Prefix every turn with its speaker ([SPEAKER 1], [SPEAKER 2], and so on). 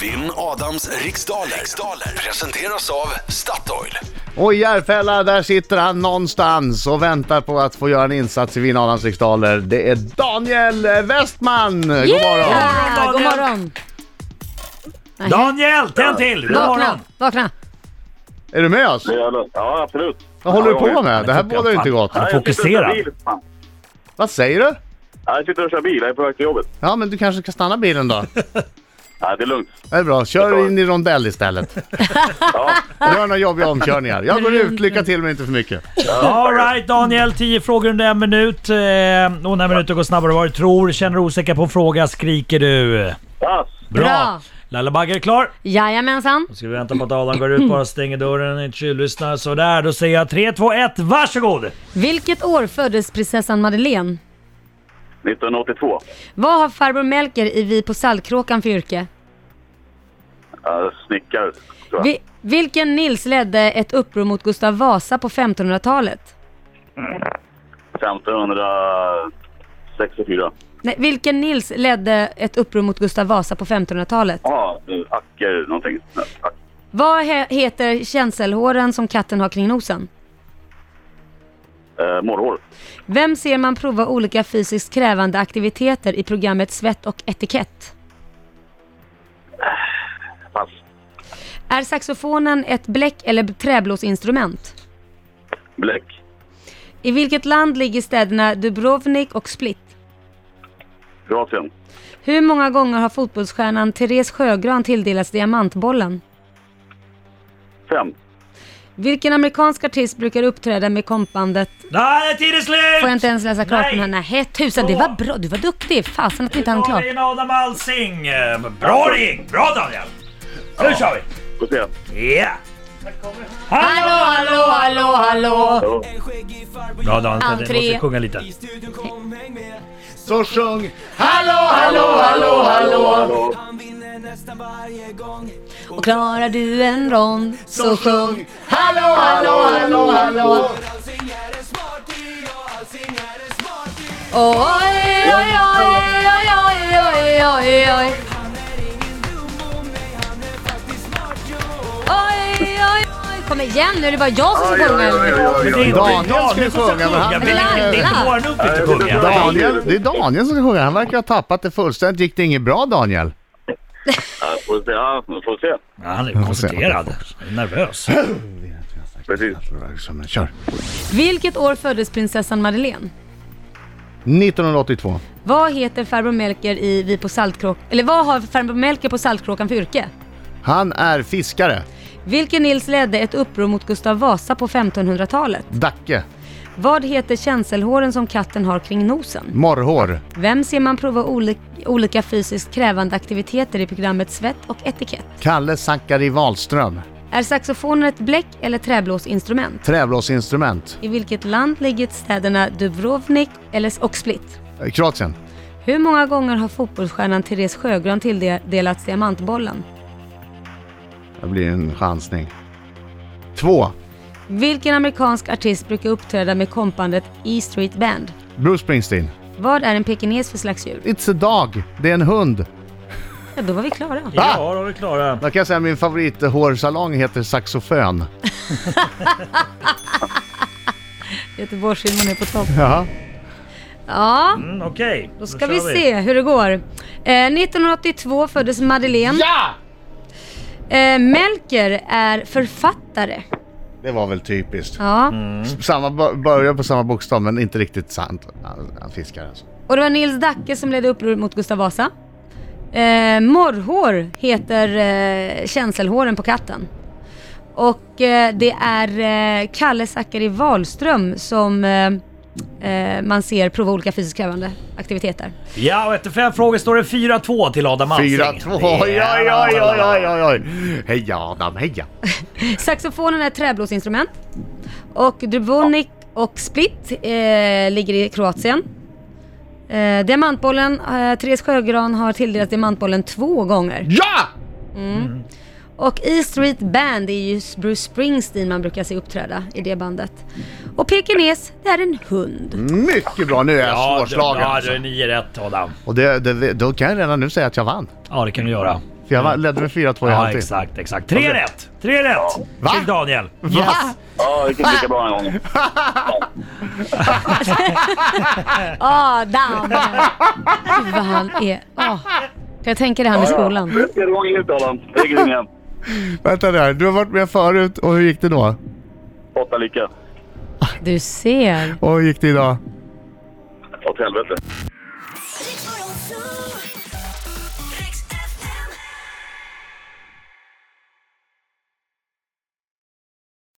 [SPEAKER 1] Vinn Adams riksdaler. riksdaler presenteras av Statoil.
[SPEAKER 2] Och i Järfälla, där sitter han någonstans och väntar på att få göra en insats i Vinnarnas riksdaler. Det är Daniel Westman! God morgon!
[SPEAKER 3] morgon,
[SPEAKER 4] God
[SPEAKER 3] Daniel.
[SPEAKER 4] morgon!
[SPEAKER 3] Daniel, tänd till! God morgon!
[SPEAKER 4] Vakna! Vakna!
[SPEAKER 2] Är du med oss?
[SPEAKER 5] Jävlar. Ja, absolut.
[SPEAKER 2] Vad håller du på med? Det här
[SPEAKER 3] kokar
[SPEAKER 2] bådar ju inte
[SPEAKER 3] fan.
[SPEAKER 2] gott.
[SPEAKER 3] Nej.
[SPEAKER 5] Jag sitter och kör
[SPEAKER 3] Fokuserad.
[SPEAKER 5] bil, fan.
[SPEAKER 2] Vad säger du?
[SPEAKER 5] Ja, Jag sitter och kör bil. Jag är på väg till jobbet.
[SPEAKER 2] Ja, men du kanske ska stanna bilen då?
[SPEAKER 5] Nej, det är lugnt.
[SPEAKER 2] Det är bra. Kör in i rondell istället.
[SPEAKER 5] Ja.
[SPEAKER 2] Gör några jobbiga omkörningar. Jag går ut. Lycka till, men inte för mycket.
[SPEAKER 3] All right Daniel, 10 frågor under en minut. Eh, och när minuten går snabbare än vad du tror. Känner du osäker på en fråga skriker du.
[SPEAKER 5] Pass.
[SPEAKER 4] Bra.
[SPEAKER 3] Laila Bagge är klar.
[SPEAKER 4] Jajamensan!
[SPEAKER 3] Då ska vi vänta på att Adam går ut bara, stänger dörren, inte tjuvlyssnar. Sådär, då säger jag 3, 2, 1, varsågod!
[SPEAKER 4] Vilket år föddes prinsessan Madeleine?
[SPEAKER 5] 1982.
[SPEAKER 4] Vad har farbror Melker i Vi på Saltkråkan för yrke?
[SPEAKER 5] Ja, snickare, tror jag.
[SPEAKER 4] Vi, vilken Nils ledde ett uppror mot Gustav Vasa på 1500-talet?
[SPEAKER 5] 1564.
[SPEAKER 4] Nej, vilken Nils ledde ett uppror mot Gustav Vasa på 1500-talet?
[SPEAKER 5] Ja, Acker någonting. Ack-
[SPEAKER 4] Vad he, heter känselhåren som katten har kring nosen?
[SPEAKER 5] Eh, Morrhår.
[SPEAKER 4] Vem ser man prova olika fysiskt krävande aktiviteter i programmet Svett och etikett?
[SPEAKER 5] Pass.
[SPEAKER 4] Är saxofonen ett bläck eller träblåsinstrument?
[SPEAKER 5] Bläck.
[SPEAKER 4] I vilket land ligger städerna Dubrovnik och Split?
[SPEAKER 5] Kroatien.
[SPEAKER 4] Hur många gånger har fotbollsstjärnan Therese Sjögran tilldelats Diamantbollen?
[SPEAKER 5] Fem.
[SPEAKER 4] Vilken amerikansk artist brukar uppträda med kompbandet?
[SPEAKER 3] Nej, tiden är slut!
[SPEAKER 4] Får jag inte ens läsa klart
[SPEAKER 3] Nej.
[SPEAKER 4] den här? Nähä tusan, det var bra. Du var duktig. Fasen att vi inte hann
[SPEAKER 3] Ta
[SPEAKER 4] klart.
[SPEAKER 3] in Adam Alsing. Eh, Bra det gick! Bra Daniel! Nu kör vi!
[SPEAKER 5] Får se.
[SPEAKER 3] Yeah! Hallå, hallå, hallå, hallå! Bra Daniel, jag
[SPEAKER 4] Entré.
[SPEAKER 3] måste sjunga lite.
[SPEAKER 2] Så sjung Hallå, hallå, hallå, hallå!
[SPEAKER 5] Hallå.
[SPEAKER 4] Och klarar du en rond så sjung.
[SPEAKER 2] Hallå, hallå, hallå, hallå!
[SPEAKER 4] Oj, oj, oj, oj, oj, oj, oj, oj. Oj, oj, oj. Kom igen nu, är det bara jag som ska sjunga.
[SPEAKER 3] Men det är
[SPEAKER 2] Daniel
[SPEAKER 3] inte jag,
[SPEAKER 2] skulle
[SPEAKER 3] som
[SPEAKER 2] sjunga, men han-
[SPEAKER 3] men det är- det är inte vår uppgift att sjunga.
[SPEAKER 2] Daniel, det är Daniel som ska sjunga. Han verkar ha tappat det fullständigt. Gick det inget bra, Daniel?
[SPEAKER 5] Ja, Får se. Ja, får se.
[SPEAKER 3] Ja, Han är koncentrerad. Han är Nervös.
[SPEAKER 5] Precis.
[SPEAKER 2] Kör.
[SPEAKER 4] Vilket år föddes prinsessan Madeleine?
[SPEAKER 2] 1982.
[SPEAKER 4] Vad heter farbror Melker i Vi på Saltkråkan? Eller vad har farbror Melker på Saltkråkan för yrke?
[SPEAKER 2] Han är fiskare.
[SPEAKER 4] Vilken Nils ledde ett uppror mot Gustav Vasa på 1500-talet?
[SPEAKER 2] Dacke.
[SPEAKER 4] Vad heter känselhåren som katten har kring nosen?
[SPEAKER 2] Morrhår.
[SPEAKER 4] Vem ser man prova oli- olika fysiskt krävande aktiviteter i programmet Svett och etikett?
[SPEAKER 2] Kalle Zackari Wahlström.
[SPEAKER 4] Är saxofonen ett bläck eller träblåsinstrument?
[SPEAKER 2] Träblåsinstrument.
[SPEAKER 4] I vilket land ligger städerna Dubrovnik eller och Split?
[SPEAKER 2] Eh, Kroatien.
[SPEAKER 4] Hur många gånger har fotbollsstjärnan Therese Sjögran tilldelats Diamantbollen?
[SPEAKER 2] Det blir en chansning. Två.
[SPEAKER 4] Vilken amerikansk artist brukar uppträda med kompbandet E Street Band?
[SPEAKER 2] Bruce Springsteen.
[SPEAKER 4] Vad är en pekines för slags djur?
[SPEAKER 2] It's a dog. Det är en hund.
[SPEAKER 4] Ja, då var vi klara.
[SPEAKER 3] Ja, då är vi klara.
[SPEAKER 2] Då kan jag säga att min favorithårsalong heter Saxofön.
[SPEAKER 4] Göteborgshumorn är på topp.
[SPEAKER 2] Jaha.
[SPEAKER 4] Ja,
[SPEAKER 3] Mm, Okej,
[SPEAKER 4] då ska
[SPEAKER 3] kör
[SPEAKER 4] vi se hur det går. Eh, 1982 föddes Madeleine.
[SPEAKER 2] Ja!
[SPEAKER 4] Eh, Melker är författare.
[SPEAKER 2] Det var väl typiskt.
[SPEAKER 4] Ja.
[SPEAKER 2] Samma, bo- börjar på samma bokstav men inte riktigt sant. Han- Han fiskar alltså.
[SPEAKER 4] Och det var Nils Dacke som ledde upproret mot Gustav Vasa. Eh, morrhår heter eh, känselhåren på katten. Och eh, det är eh, Kalle Zackari Wahlström som eh, eh, man ser prova olika fysiskt krävande aktiviteter.
[SPEAKER 3] Ja, och efter fem frågor står det 4-2 till Adam Alsing.
[SPEAKER 2] 4-2. Oj, oj, oj, oj, oj, oj, oj. Heja Adam, heja.
[SPEAKER 4] Saxofonen är ett träblåsinstrument. Och Dubrovnik och Split eh, ligger i Kroatien. Eh, diamantbollen, eh, Therese Sjögran har tilldelats Diamantbollen två gånger.
[SPEAKER 2] Ja!
[SPEAKER 4] Och E Street Band är ju Bruce Springsteen man brukar se uppträda i det bandet. Och pekines, det är en
[SPEAKER 2] Mm.
[SPEAKER 4] hund.
[SPEAKER 2] Mycket bra, nu är jag
[SPEAKER 3] Ja, du,
[SPEAKER 2] svårslagen.
[SPEAKER 3] ja,
[SPEAKER 2] alltså.
[SPEAKER 3] du är 9 rätt Adam.
[SPEAKER 2] Och det, det, då kan jag redan nu säga att jag vann.
[SPEAKER 3] Ja, det kan du göra.
[SPEAKER 2] för jag var- ledde med 4-2 i
[SPEAKER 3] Mm. Ja,
[SPEAKER 2] halvtid.
[SPEAKER 3] exakt, exakt. Tre rätt! Tre rätt!
[SPEAKER 2] Va?
[SPEAKER 3] Till Daniel.
[SPEAKER 2] Yes.
[SPEAKER 5] Ja, det gick inte lika bra en gång.
[SPEAKER 4] Åh, Dan! Gud vad han är... Åh. Kan jag tänka det här med skolan?
[SPEAKER 5] Tredje gången gillt, Adam. Det gick igen.
[SPEAKER 2] Vänta där, du har varit med förut och hur gick det då?
[SPEAKER 5] Åtta lika.
[SPEAKER 4] Du ser.
[SPEAKER 2] Och hur gick det idag?
[SPEAKER 5] Åt helvete.